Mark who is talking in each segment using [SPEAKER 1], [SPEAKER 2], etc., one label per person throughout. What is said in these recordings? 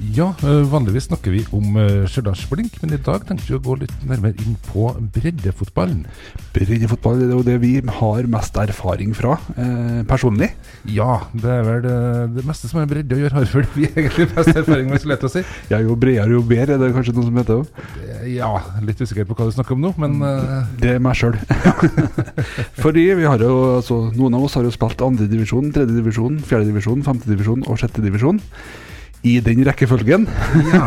[SPEAKER 1] Ja, eh, vanligvis snakker vi om eh, Stjørdalsblink, men i dag tenkte vi å gå litt nærmere inn på breddefotballen.
[SPEAKER 2] Breddefotball det er jo det vi har mest erfaring fra eh, personlig.
[SPEAKER 1] Ja, det er vel det, det meste som er bredde å gjøre, har vel vi egentlig mest erfaring med, skulle jeg til å si.
[SPEAKER 2] Jeg er jo bredere jo bedre, er det kanskje noe som heter det?
[SPEAKER 1] Eh, Ja, litt usikker på hva du snakker om nå, men eh,
[SPEAKER 2] Det er meg sjøl. Fordi vi har jo, altså, noen av oss har jo spilt andredivisjon, tredjedivisjon, fjerdedivisjon, femtedivisjon og sjettedivisjon. I den rekkefølgen.
[SPEAKER 1] ja.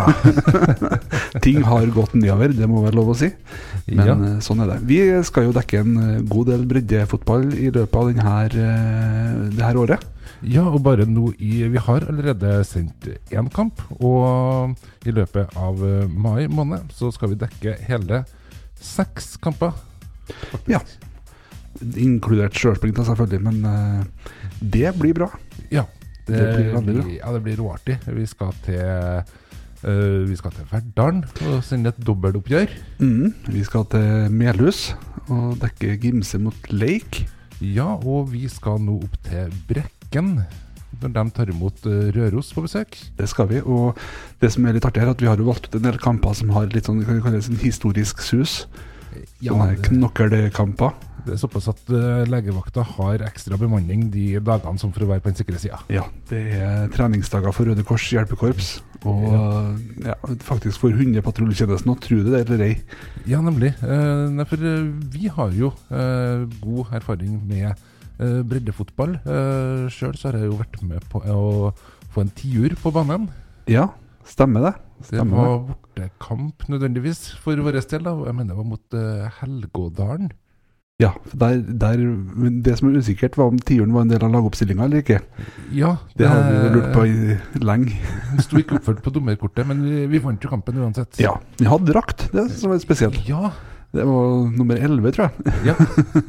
[SPEAKER 2] Ting har gått nedover, det må være lov å si. Men
[SPEAKER 1] ja.
[SPEAKER 2] eh, sånn er det. Vi skal jo dekke en eh, god del breddefotball i løpet av den her, eh, det her året.
[SPEAKER 1] Ja, og bare nå i Vi har allerede sendt én kamp, og i løpet av eh, mai måned så skal vi dekke hele seks kamper. faktisk.
[SPEAKER 2] Ja. Inkludert sjølsprint, selvfølgelig. Men eh, det blir bra.
[SPEAKER 1] Ja, det,
[SPEAKER 2] Det blir
[SPEAKER 1] blir
[SPEAKER 2] veldig bra.
[SPEAKER 1] Ja, det blir råartig. Vi skal til eh, Vi skal til Verdalen og sende et dobbeltoppgjør.
[SPEAKER 2] Mm. Vi skal til Melhus og dekke Gimse mot Lake.
[SPEAKER 1] Ja, og vi skal nå opp til Brekken. Når de tar imot eh, Røros på besøk.
[SPEAKER 2] Det skal vi. Og det som er litt artig, er at vi har jo valgt ut en del kamper som har litt sånn, kan vi kalle det, sånn historisk sus. Sånne
[SPEAKER 1] det,
[SPEAKER 2] knokkelkamper.
[SPEAKER 1] det er såpass at eh, legevakta har ekstra bemanning de dagene som for å være på den sikre sida.
[SPEAKER 2] Ja, det er treningsdager for Røde Kors hjelpekorps. Og ja, faktisk for hundepatruljetjenesten òg, tro det eller ei.
[SPEAKER 1] Ja, nemlig. Eh, nei, for eh, vi har jo eh, god erfaring med eh, breddefotball. Eh, Sjøl så har jeg jo vært med på å få en tiur på banen.
[SPEAKER 2] Ja, stemmer det.
[SPEAKER 1] Det
[SPEAKER 2] Stemmer
[SPEAKER 1] var bortekamp nødvendigvis for vår del. da Jeg mener det var mot eh, Helgådalen.
[SPEAKER 2] Ja, for der, der, men det som er usikkert, var om tiuren var en del av lagoppstillinga eller ikke.
[SPEAKER 1] Ja,
[SPEAKER 2] Det har vi jo lurt på i lenge.
[SPEAKER 1] Den sto Eh, ikke oppført på dommerkortet, men vi, vi vant jo kampen uansett.
[SPEAKER 2] Ja. Vi hadde drakt, det som var litt spesielt.
[SPEAKER 1] Ja,
[SPEAKER 2] Det var nummer 11, tror jeg.
[SPEAKER 1] ja.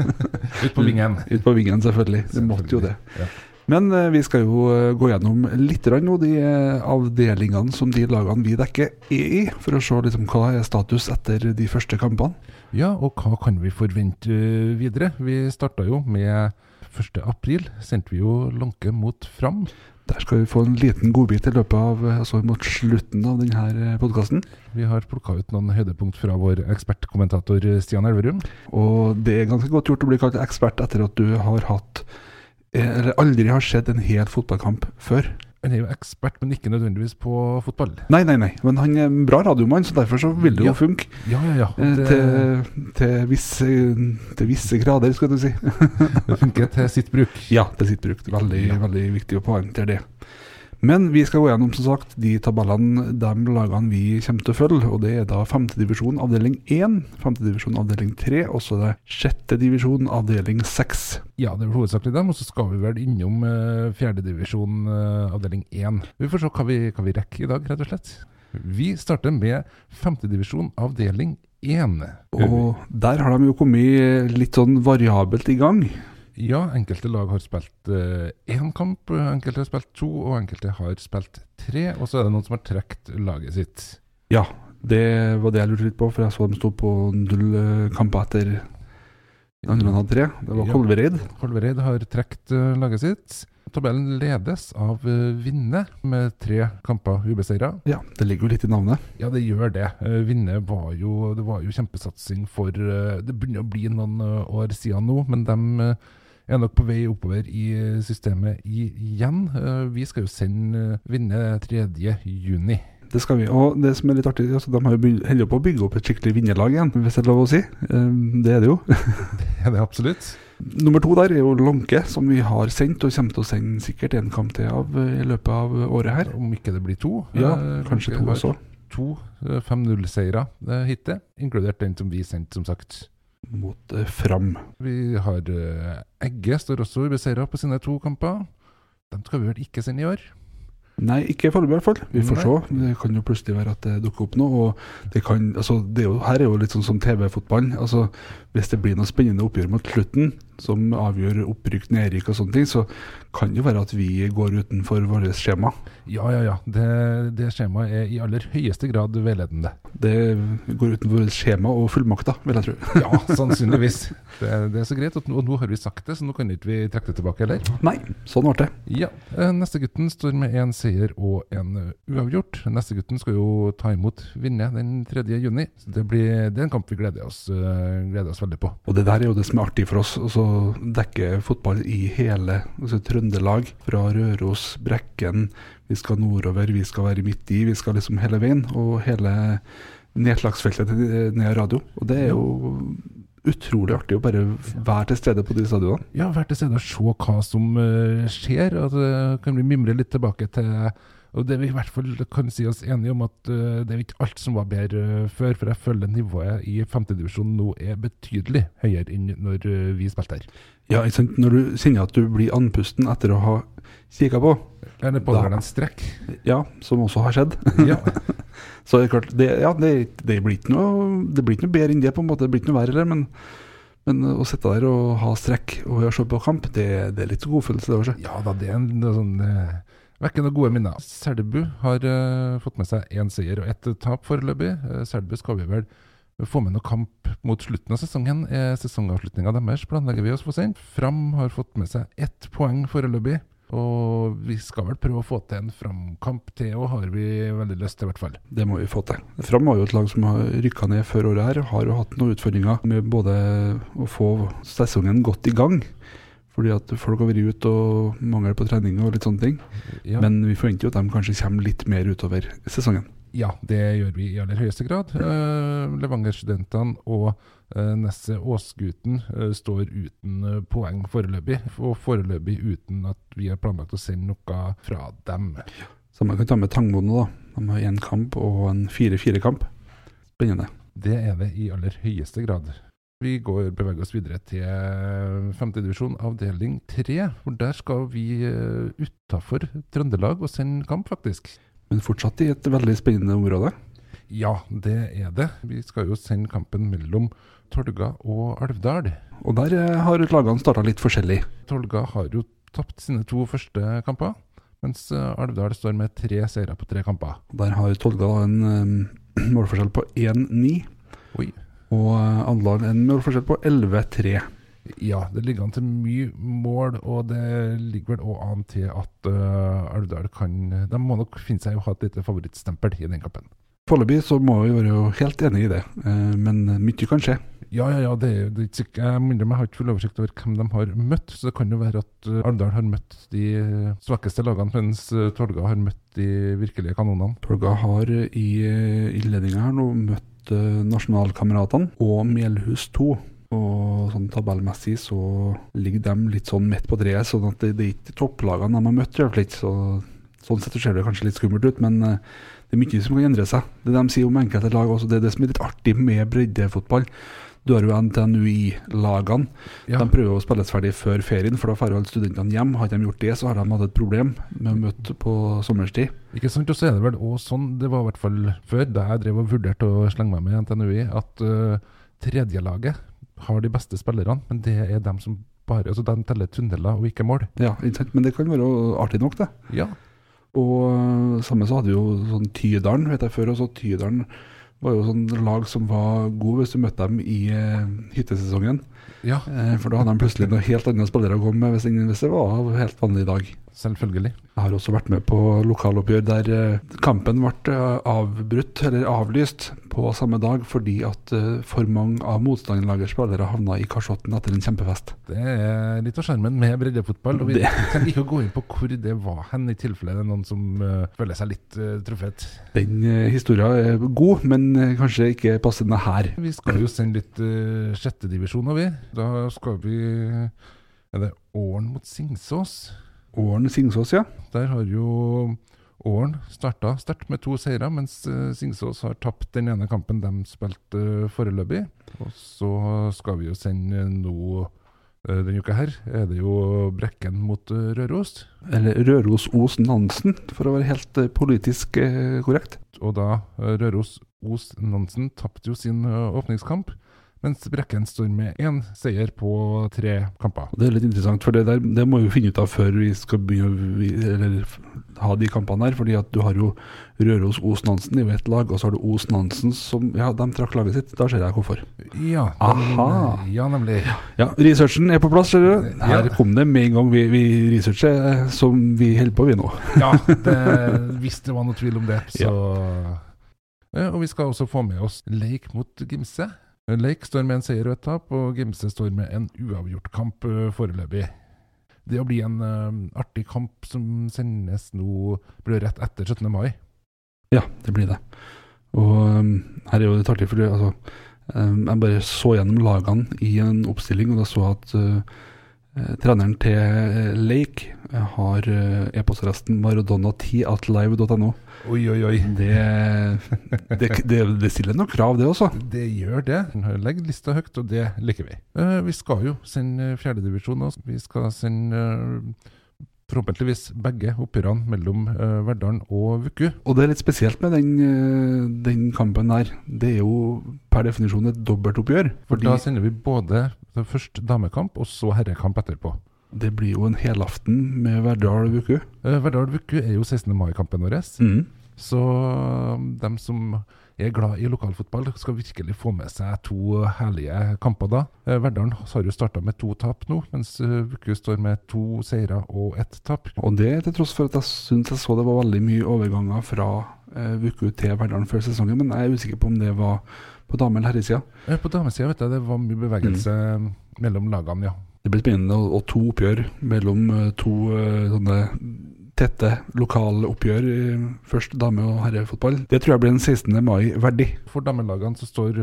[SPEAKER 1] Ut på vingen.
[SPEAKER 2] Ut på vingen, selvfølgelig. Det måtte jo det.
[SPEAKER 1] Ja.
[SPEAKER 2] Men eh, vi skal jo eh, gå gjennom litt grann nå de eh, avdelingene som de lagene vi dekker, er i, for å se liksom, hva er status etter de første kampene.
[SPEAKER 1] Ja, og hva kan vi forvente eh, videre? Vi starta jo med 1. april sendte vi jo Lånke mot Fram.
[SPEAKER 2] Der skal vi få en liten godbit i løpet av, eh, altså mot slutten av denne eh, podkasten.
[SPEAKER 1] Vi har plukka ut noen høydepunkt fra vår ekspertkommentator eh, Stian Elverum.
[SPEAKER 2] Og det er ganske godt gjort å bli kalt ekspert etter at du har hatt eh, eller aldri har sett en hel fotballkamp før.
[SPEAKER 1] Han er jo ekspert, men ikke nødvendigvis på fotball.
[SPEAKER 2] Nei, nei, nei, men han er en bra radiomann, så derfor så vil det jo
[SPEAKER 1] Ja.
[SPEAKER 2] funke.
[SPEAKER 1] Ja, ja, ja.
[SPEAKER 2] Eh,
[SPEAKER 1] Det-
[SPEAKER 2] Til, til, visse, til visse grader, skal du si.
[SPEAKER 1] Det funker til sitt bruk.
[SPEAKER 2] Ja, til sitt bruk. Veldig,
[SPEAKER 1] Ja.
[SPEAKER 2] veldig viktig å poengtere det. Men vi skal gå gjennom som sagt, de tabellene, de lagene vi kommer til å følge. og Det er da femtedivisjon avdeling 1, femtedivisjon avdeling 3, og så er det sjette divisjon avdeling 6.
[SPEAKER 1] Ja, det er vel hovedsakelig dem. Og så skal vi vel innom eh, fjerdedivisjon eh, avdeling 1. Vi får se hva vi, hva vi rekker i dag, rett og slett. Vi starter med femtedivisjon avdeling 1.
[SPEAKER 2] Og der har de jo kommet litt sånn variabelt i gang.
[SPEAKER 1] Ja, enkelte lag har spilt eh, én kamp, enkelte har spilt to, og enkelte har spilt tre. Og så er det noen som har trukket laget sitt.
[SPEAKER 2] Ja, det var det jeg lurte litt på, for jeg så de sto på null eh, kamper etter den andre man hadde tre. Det var
[SPEAKER 1] Ja.
[SPEAKER 2] Kolvereid.
[SPEAKER 1] Kolvereid har trukket eh, laget sitt. Tabellen ledes av eh, Vinne med tre kamper ubeseira.
[SPEAKER 2] Ja, det ligger jo litt i navnet.
[SPEAKER 1] Ja, det gjør det. Eh, Vinne var jo, det var jo kjempesatsing for eh, Det begynner å bli noen eh, år siden nå, men de er nok på vei oppover i eh, systemet i- igjen. Eh, Vi skal jo sende eh, Vinne 3. juni.
[SPEAKER 2] Det skal vi. Og det som er litt artig, altså, de har jo begynt- holder jo på å bygge opp et skikkelig vinnerlag igjen, hvis det er lov å si. Eh, Det er det jo.
[SPEAKER 1] Er det absolutt?
[SPEAKER 2] Nummer to der er jo Lånke, som vi har sendt, og kommer til å sende sikkert en kamp til av eh, i løpet av året her.
[SPEAKER 1] Om ikke det blir to.
[SPEAKER 2] Ja,
[SPEAKER 1] Eh,
[SPEAKER 2] kanskje
[SPEAKER 1] vi
[SPEAKER 2] to
[SPEAKER 1] har
[SPEAKER 2] også.
[SPEAKER 1] To eh, 5-0-seire eh, hittil, inkludert den som vi sendte, som sagt.
[SPEAKER 2] Mot eh, Fram.
[SPEAKER 1] Vi har eh, Egge står også ubeseira på sine to kamper. Dem skal vi vel ikke sende i år?
[SPEAKER 2] Nei, ikke foreløpig i hvert fall. Vi får
[SPEAKER 1] Nei.
[SPEAKER 2] se. Det kan jo plutselig være at det dukker opp noe. Og det kan, altså, det er jo, her er jo litt sånn som TV-fotballen. Altså, hvis det blir noe spennende oppgjør mot slutten, som avgjør opprykk, nedrykk og sånne ting, så kan det jo være at vi går utenfor vårt skjema.
[SPEAKER 1] Ja, ja, ja. Det, det skjemaet er i aller høyeste grad veiledende.
[SPEAKER 2] Det går utenfor vårt skjema og fullmakta, vil jeg tro.
[SPEAKER 1] Ja, sannsynligvis. Det, det er så greit. at nå- Og nå har vi sagt det, så nå kan ikke vi trekke det tilbake heller.
[SPEAKER 2] Nei, sånn ble det.
[SPEAKER 1] Ja. eh, Neste gutten står med én seier og en eh, uavgjort. Neste gutten skal jo ta imot Vinje den 3. juni. Så det, blir, det er en kamp vi gleder oss, eh, gleder oss veldig på.
[SPEAKER 2] Og det der er jo det som er artig for oss, å dekke fotball i hele altså Trøndelag. Fra Røros, Brekken, vi skal nordover, vi skal være midt i, vi skal liksom hele veien. Og hele nedslagsfeltet til eh, Nea Radio. Og det er jo utrolig artig å bare være til stede på de stadionene.
[SPEAKER 1] Ja, vært til stede og se hva som eh, skjer. Og det kan vi mimre litt tilbake til Og det vi i hvert fall kan si oss enige om, at eh, det er ikke alt som var bedre eh, før. For jeg føler nivået i femtedivisjon nå er betydelig høyere enn når eh, vi spilte her.
[SPEAKER 2] Ja, ikke sant? Når du kjenner at du blir andpusten etter å ha kikka på,
[SPEAKER 1] Eller pågår det en strekk?
[SPEAKER 2] ja, som også har skjedd,
[SPEAKER 1] Ja.
[SPEAKER 2] Så det er klart, det, ja, det, det, blir ikke noe, det blir ikke noe bedre enn det, på en måte. Det blir ikke noe verre heller, men, men å sitte der og ha strekk og se på kamp, det, det er litt godfølelse, det også.
[SPEAKER 1] Ja da, det er en det er sånn eh, vekkende gode minner. Selbu har eh, fått med seg én seier og ett tap foreløpig. Eh, Selbu skal vi vel få med noe kamp mot slutten av sesongen. Uh, Sesongavslutninga deres planlegger vi oss for sent. Fram har fått med seg ett poeng foreløpig. Og vi skal vel prøve å få til en framkamp til òg, har vi veldig lyst til i hvert fall.
[SPEAKER 2] Det må vi få til. Fram var jo et lag som har rykka ned før året her, har jo hatt noen utfordringer med både å få sesongen godt i gang, fordi at folk har vært ute og mangler på trening og litt sånne ting.
[SPEAKER 1] Ja.
[SPEAKER 2] Men vi forventer jo at de kanskje kommer litt mer utover sesongen.
[SPEAKER 1] Ja, det gjør vi i aller høyeste grad. Eh, Levanger-studentene og eh, Nesset Åsguten eh, står uten eh, poeng foreløpig, og foreløpig uten at vi har planlagt å sende noe fra dem.
[SPEAKER 2] Så man kan ta med Tangmoen nå, da. De har én kamp og en 4-4-kamp. Spennende.
[SPEAKER 1] Det er det i aller høyeste grad. Vi går beveger oss videre til femtedivisjon avdeling tre, for der skal vi eh, utafor Trøndelag og sende kamp, faktisk.
[SPEAKER 2] Men fortsatt i et veldig spennende område.
[SPEAKER 1] Ja, det er det. Vi skal jo sende kampen mellom Tolga og Alvdal.
[SPEAKER 2] Og der eh, har lagene starta litt forskjellig.
[SPEAKER 1] Tolga har jo tapt sine to første kamper, mens eh, Alvdal står med tre seire på tre kamper.
[SPEAKER 2] Og Der har Tolga da en eh, målforskjell på 1-9,
[SPEAKER 1] Oi.
[SPEAKER 2] og eh, Alvdal en målforskjell på 11-3.
[SPEAKER 1] Ja, det ligger an til mye mål, og det ligger vel òg an til at uh, Alvdal kan De må nok finne seg å ha et lite favorittstempel i den kampen.
[SPEAKER 2] Foreløpig så må vi være jo helt enig i det, eh, men mye kan skje.
[SPEAKER 1] Ja, ja, ja, det er jo det er ikke sikkert. Jeg minner meg, jeg har ikke full oversikt over hvem de har møtt, så det kan jo være at uh, Alvdal har møtt de eh, svakeste lagene, mens eh, Tolga har møtt de virkelige kanonene.
[SPEAKER 2] Tolga har eh, i eh, innledninga her nå møtt eh, nasjonalkameratene og Melhus 2. Og sånn tabellmessig så ligger de litt sånn midt på treet, sånn at det, det er ikke topplagene de har møtt. i hvert fall ikke, Så, sånn sett så ser det kanskje litt skummelt ut, men eh, det er mye som kan endre seg. Det de sier om enkelte lag også, det er det som er litt artig med breddefotball. Du har jo NTNUI-lagene.
[SPEAKER 1] Ja.
[SPEAKER 2] De prøver å spilles ferdig før ferien, for da drar jo alle studentene hjem. Har ikke de gjort det, så har de hatt et problem med å møte på sommerstid.
[SPEAKER 1] Ikke sant, og så er det vel også sånn, det var i hvert fall før, da jeg drev og vurderte å slenge meg med i NTNUI, at eh, tredjelaget har de beste spillerne, men det er dem som bare, altså de teller tunneler og ikke mål.
[SPEAKER 2] Ja, ikke sant? Men det kan være artig nok, det.
[SPEAKER 1] Ja,
[SPEAKER 2] Og øh, samme så hadde vi jo sånn Tydalen, vet jeg før. Og så Tydalen var jo sånn lag som var god hvis du møtte dem i eh, hyttesesongen.
[SPEAKER 1] ja,
[SPEAKER 2] Eh, for da hadde de plutselig noen helt andre spillere å komme med hvis, ingen- hvis det var av helt vanlig dag.
[SPEAKER 1] selvfølgelig.
[SPEAKER 2] Jeg har også vært med på lokaloppgjør der eh, kampen ble eh, avbrutt, eller avlyst, på samme dag fordi at eh, for mange av motstanderlagets spillere havna i kasjotten etter en kjempefest.
[SPEAKER 1] Det er litt av skjermen med breddefotball, og vi
[SPEAKER 2] Det-
[SPEAKER 1] trenger ikke å gå inn på hvor det var hen, i tilfelle det er noen som eh, føler seg litt eh, truffet.
[SPEAKER 2] Den eh, historien er god, men eh, kanskje ikke passende her.
[SPEAKER 1] Vi skal jo sende litt uh, sjettedivisjon, og vi, da skal vi, er det Åren mot Singsås?
[SPEAKER 2] Åren Singsås, ja.
[SPEAKER 1] Der har jo Åren starta sterkt med to seire, mens eh, Singsås har tapt den ene kampen de spilte eh, foreløpig. Og så skal vi jo sende eh, nå eh, denne uka her, er det jo Brekken mot eh, Røros.
[SPEAKER 2] Eller Røros Osen Nansen, for å være helt eh, politisk eh, korrekt.
[SPEAKER 1] Og da eh, Røros Os Nansen tapte jo sin eh, åpningskamp. mens Brekken står med én seier på tre kamper.
[SPEAKER 2] Og Det er litt interessant, for det, der, det må vi finne ut av før vi skal begynne å vi- eller, f- ha de kampene her. fordi at du har jo Røros Osen Hansen i ett lag, og så har du Osen Hansen som Ja, de trakk laget sitt. Da ser jeg hvorfor.
[SPEAKER 1] Ja,
[SPEAKER 2] Aha.
[SPEAKER 1] dem- ja nemlig.
[SPEAKER 2] Ja, Researchen er på plass, ser du. Her
[SPEAKER 1] Ja.
[SPEAKER 2] kom det med en gang vi, vi researcher, eh, som vi holder på vi nå.
[SPEAKER 1] Ja, det, hvis det var noe tvil om det, så Eh, Og vi skal også få med oss Leik mot Gimse. Leik står med en seier og et tap, og Gimse står med en uavgjort kamp eh, foreløpig. Det å bli en eh, artig kamp som sendes nå blir rett etter 17. mai.
[SPEAKER 2] Ja, det blir det. Og um, her er jo litt artig, for det, altså, um, jeg bare så gjennom lagene i en oppstilling, og da så jeg at uh, eh, treneren til eh, Lake eh, har uh, e-postadressen maradona10atlive.no.
[SPEAKER 1] Oi, oi, oi.
[SPEAKER 2] Det, det, det, det stiller nok krav, det også.
[SPEAKER 1] Det gjør det. Legg lista høyt, og det liker vi. Eh, vi skal jo sende fjerdedivisjon nå. Vi skal sende eh, forhåpentligvis begge oppgjørene mellom eh, Verdalen og Vuku.
[SPEAKER 2] Og det er litt spesielt med den, eh, den kampen der. Det er jo per definisjon et dobbeltoppgjør.
[SPEAKER 1] For
[SPEAKER 2] Fordi
[SPEAKER 1] da sender vi både først damekamp og så herrekamp etterpå.
[SPEAKER 2] det blir jo en helaften med Verdal uke.
[SPEAKER 1] Eh, Verdal Vuku er jo 16. mai-kampen vår,
[SPEAKER 2] Mm.
[SPEAKER 1] så um, dem som er glad i lokalfotball, skal virkelig få med seg to herlige kamper da. Eh, Verdalen har jo starta med to tap nå, mens eh, Vuku står med to seire og ett tap.
[SPEAKER 2] Og det til tross for at jeg syns jeg så det var veldig mye overganger fra eh, Vuku til Verdalen før sesongen, men jeg er usikker på om det var på dame- eller herresida.
[SPEAKER 1] Eh, På damesida vet jeg det var mye bevegelse
[SPEAKER 2] Mm.
[SPEAKER 1] mellom lagene, ja.
[SPEAKER 2] Det blir spennende, og, og to oppgjør mellom eh, to eh, sånne tette lokale oppgjør. eh, Først dame- og herrefotball. Det tror jeg blir den 16. mai verdig.
[SPEAKER 1] For damelagene så står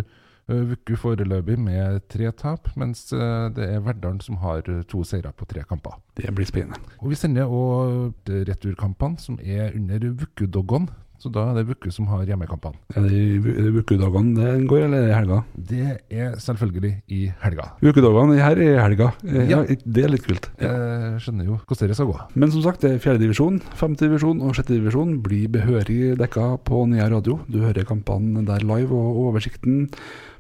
[SPEAKER 1] eh, Vuku foreløpig med tre tap, mens eh, det er Verdalen som har eh, to seire på tre kamper.
[SPEAKER 2] Det blir spennende.
[SPEAKER 1] Og vi sender også returkampene, som er under Vukkudoggon. Så da er det Vukku som har hjemmekampene.
[SPEAKER 2] Er det i Vu- er det Vuku-dagene det går, eller er det i helga?
[SPEAKER 1] Det er selvfølgelig i helga.
[SPEAKER 2] Vuku-dagene her er i helga. Eh,
[SPEAKER 1] Ja.
[SPEAKER 2] Ja. Det er litt kult.
[SPEAKER 1] Jeg skjønner jo hvordan det skal gå.
[SPEAKER 2] Men som sagt, det er fjerdedivisjon, femtedivisjon og sjettedivisjon blir behørig dekka på Nea radio. Du hører kampene der live, og oversikten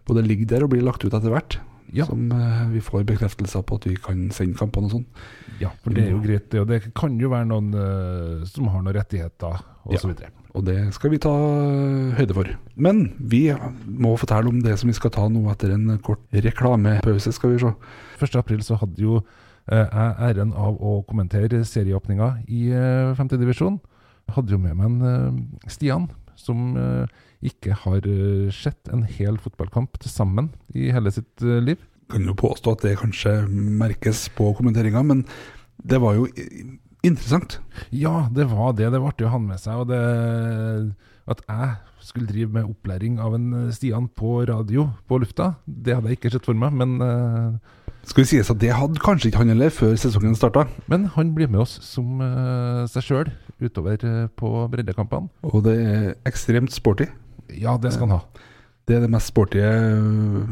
[SPEAKER 2] både ligger der og blir lagt ut etter hvert.
[SPEAKER 1] Ja.
[SPEAKER 2] Som eh, vi får bekreftelser på at vi kan sende kampene og sånn.
[SPEAKER 1] Ja, For det er jo greit, det. Og det kan jo være noen eh, som har noen rettigheter,
[SPEAKER 2] Ja.
[SPEAKER 1] osv. videre.
[SPEAKER 2] Og det skal vi ta eh, høyde for. Men vi må fortelle om det som vi skal ta nå etter en kort reklamepause, skal vi se.
[SPEAKER 1] 1. april så hadde jo eh, jeg æren av å kommentere serieåpninga i eh, 5. divisjon. Jeg Hadde jo med meg en eh, Stian, som eh, ikke har eh, sett en hel fotballkamp til sammen i hele sitt eh, liv.
[SPEAKER 2] kan jo påstå at det kanskje merkes på kommenteringa, men det var jo i- interessant.
[SPEAKER 1] Ja, det var det. Det var artig å ha han med seg. Og det, at jeg skulle drive med opplæring av en eh, Stian på radio på lufta, det hadde jeg ikke sett for meg. Men, eh,
[SPEAKER 2] Skal vi sies at det hadde kanskje ikke han heller før sesongen starta.
[SPEAKER 1] men han blir med oss som eh, seg sjøl utover eh, på breddekampene.
[SPEAKER 2] Og det er ekstremt sporty.
[SPEAKER 1] Ja, det skal han ha.
[SPEAKER 2] Det er det mest sporty øh,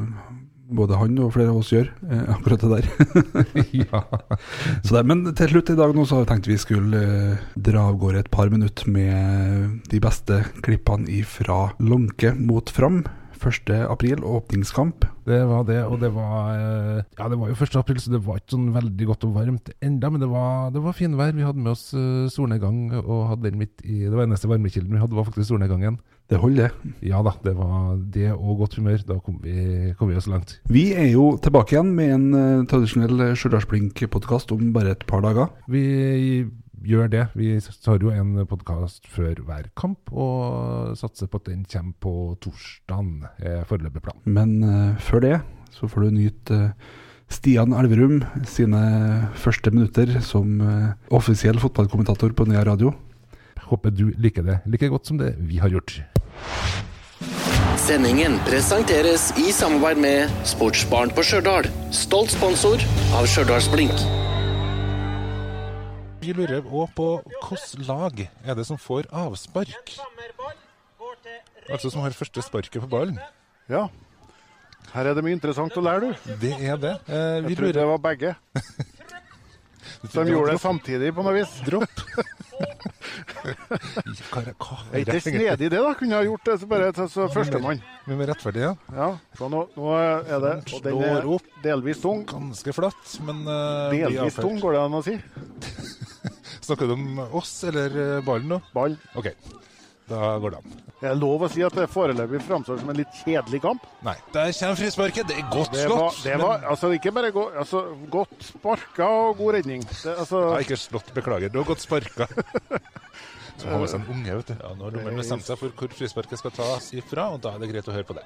[SPEAKER 2] både han og flere av oss gjør, eh, akkurat det der.
[SPEAKER 1] ja.
[SPEAKER 2] Så det, men til slutt i dag nå så har vi tenkt vi skulle eh, dra av gårde et par minutter med de beste klippene fra Lånke mot Fram. 1. april, åpningskamp.
[SPEAKER 1] Det var det, og det var eh, Ja, det var jo 1. april, så det var ikke sånn veldig godt og varmt enda, men det var, det var finvær. Vi hadde med oss eh, solnedgang, og hadde den midt i Det var eneste varmekilden vi hadde, var faktisk solnedgangen.
[SPEAKER 2] Det holder, det.
[SPEAKER 1] Ja da, det var det og godt humør. Da kom vi, kom vi oss langt.
[SPEAKER 2] Vi er jo tilbake igjen med en eh, tradisjonell Stjørdalsblink-podkast om bare et par dager.
[SPEAKER 1] Vi gjør det. Vi tar jo en podkast før hver kamp, og satser på at den kommer på torsdagen, er foreløpig planen.
[SPEAKER 2] Men eh, før det så får du nyte eh, Stian Elverum sine første minutter som eh, offisiell fotballkommentator på Nea radio.
[SPEAKER 1] Håper du liker det like godt som det vi har gjort.
[SPEAKER 3] Sendingen presenteres i samarbeid med Sportsbaren på Stjørdal. Stolt sponsor av Stjørdalsblink.
[SPEAKER 4] Vi lurer òg på hvilket lag er det som får avspark? Altså som har første sparket på ballen.
[SPEAKER 5] Ja. Her er det mye interessant å lære, du.
[SPEAKER 4] Det er det. Eh, vi
[SPEAKER 5] Jeg trodde
[SPEAKER 4] lurer
[SPEAKER 5] det var begge. Så de gjorde det samtidig, på noe vis.
[SPEAKER 4] Dropp.
[SPEAKER 1] Hva er det? Hva
[SPEAKER 5] Er
[SPEAKER 1] er
[SPEAKER 5] ikke det snedig, det, da? Kunne jeg gjort det, så bare så, så førstemann.
[SPEAKER 1] Vi må rettferdige.
[SPEAKER 5] Ja, så nå, nå er det Og den er
[SPEAKER 1] Slår opp.
[SPEAKER 5] delvis tung.
[SPEAKER 1] Ganske flatt, men eh, vi
[SPEAKER 5] Delvis
[SPEAKER 1] avfører.
[SPEAKER 5] tung, går det an å si.
[SPEAKER 1] Snakker du om oss eller eh, ballen nå?
[SPEAKER 5] Ball.
[SPEAKER 1] OK. Da går det an.
[SPEAKER 5] Det er lov å si at det foreløpig framstår som en litt kjedelig kamp.
[SPEAKER 1] Nei, der kommer frisparket. Det er godt
[SPEAKER 5] Det var,
[SPEAKER 1] slått.
[SPEAKER 5] det var altså ikke bare go altså, godt sparka og god redning. Det, altså,
[SPEAKER 1] men... Nei, ikke slått, beklager. Du har godt sparka. Så har vi seg en unge, vet du. Ja, nå har dommeren bestemt seg for hvor frisparket skal tas ifra, og da er det greit å høre på det.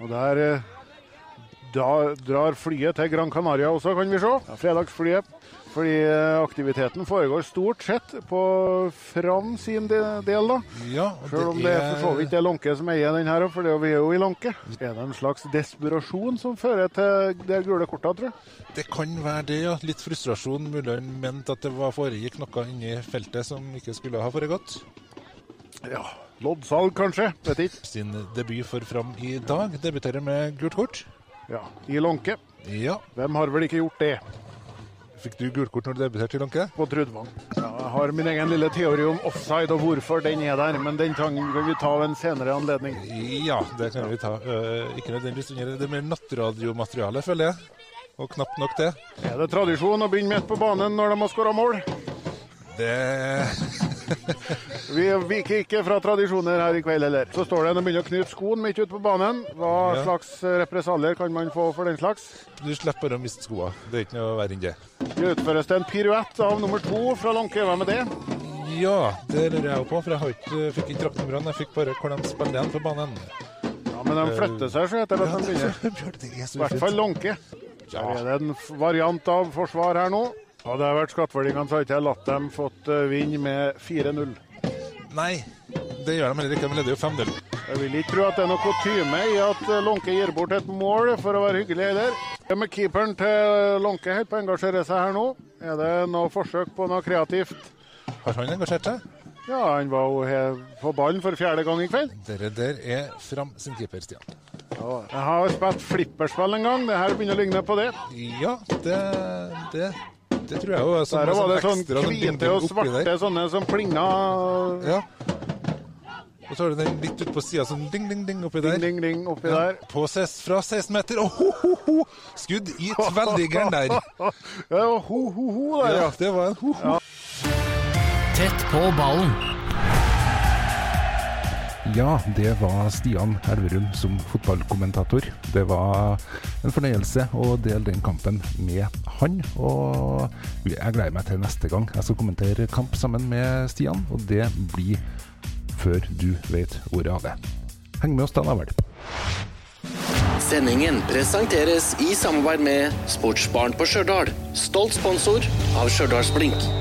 [SPEAKER 5] og der eh, da drar flyet til Gran Canaria også, kan vi se. Fredagsflyet. Fordi eh, aktiviteten foregår stort sett på Fram sin de- del, da.
[SPEAKER 1] Ja, og
[SPEAKER 5] Selv om det er for så vidt er Lånke som eier den her, for det er vi er jo i Lånke. Er det en slags desperasjon som fører til det gule kortet, tror jeg?
[SPEAKER 1] Det kan være det, ja. Litt frustrasjon. Mulig han mente at det var foregikk noe inni feltet som ikke skulle ha foregått.
[SPEAKER 5] Ja. Loddsalg, kanskje? Vet ikke.
[SPEAKER 1] Sin debut for Fram i dag debuterer med gult kort.
[SPEAKER 5] Ja, I Lånke.
[SPEAKER 1] Ja.
[SPEAKER 5] Hvem har vel ikke gjort det?
[SPEAKER 1] Fikk du gult kort når du debuterte i Lånke?
[SPEAKER 5] på Trudvang. Ja, jeg har min egen lille teori om offside og hvorfor den er der, men den kan vi ta ved en senere anledning.
[SPEAKER 1] Ja, det kan vi ta. Øh, ikke nødvendigvis under det er mer nattradiomateriale, føler jeg. Og knapt nok det.
[SPEAKER 5] Er det tradisjon å begynne midt på banen når de har skåra mål?
[SPEAKER 1] Det
[SPEAKER 5] Vi viker ikke fra tradisjoner her i kveld heller. Så står det en og begynner å knyte skoen midt ute på banen. Hva
[SPEAKER 1] Ja.
[SPEAKER 5] slags represalier kan man få for den slags?
[SPEAKER 1] Du slipper bare å miste skoa. Det er ikke noe verre enn det.
[SPEAKER 5] Det utføres det en piruett av nummer to fra Lånke. Hvem er det?
[SPEAKER 1] Ja, det lurer jeg jo på, for jeg har ikke, fikk ikke rakt numrene. Jeg fikk bare hvor de spiller igjen på banen.
[SPEAKER 5] Ja, men de flytter seg, så heter det at de begynner.
[SPEAKER 1] Bjørn, det er
[SPEAKER 5] I
[SPEAKER 1] så
[SPEAKER 5] hvert fall
[SPEAKER 1] ufint.
[SPEAKER 5] Lånke. Der er det en f- variant av forsvar her nå. Hadde jeg vært skattverdingene, så hadde ikke jeg latt dem fått eh, vinne med 4-0.
[SPEAKER 1] Nei, det gjør de heller ikke. De leder jo 5-0.
[SPEAKER 5] Jeg vil ikke tro at det er noe kutyme i at eh, Lånke gir bort et mål for å være hyggelig heller. Det med keeperen til Lånke helt på å engasjere seg her nå. Er det noe forsøk på noe kreativt?
[SPEAKER 1] Har han engasjert seg?
[SPEAKER 5] Ja, han var jo her på ballen for fjerde gang i kveld.
[SPEAKER 1] Dere der er Fram sin keeper, Stian.
[SPEAKER 5] Jeg har spilt flipperspill en gang. Det her begynner å ligne på det.
[SPEAKER 1] Ja, det, det, det tror jeg jo. er sånn-
[SPEAKER 5] Der var det sånn
[SPEAKER 1] ekstra
[SPEAKER 5] hvite
[SPEAKER 1] ding-ding
[SPEAKER 5] og
[SPEAKER 1] oppi der.
[SPEAKER 5] svarte sånne som plinga.
[SPEAKER 1] Ja. Og så har du den litt ut på sida, sånn ding, ding, ding oppi der.
[SPEAKER 5] Ding, ding, ding oppi der.
[SPEAKER 1] På ses, fra 16 meter. og ho, ho, ho! Skudd i tveldigeren der.
[SPEAKER 5] Ja, det var ho, ho, ho der,
[SPEAKER 1] Ja,
[SPEAKER 5] ja.
[SPEAKER 1] det var en ho, ho.
[SPEAKER 6] Tett på ballen.
[SPEAKER 7] Ja, det var Stian Elverum som fotballkommentator. Det var en fornøyelse å dele den kampen med han. Og jeg gleder meg til neste gang jeg skal kommentere kamp sammen med Stian, og det blir før du vet ordet av det. Heng med oss da, da vel.
[SPEAKER 3] Sendingen presenteres i samarbeid med Sportsbaren på Stjørdal. Stolt sponsor av Stjørdals Blink.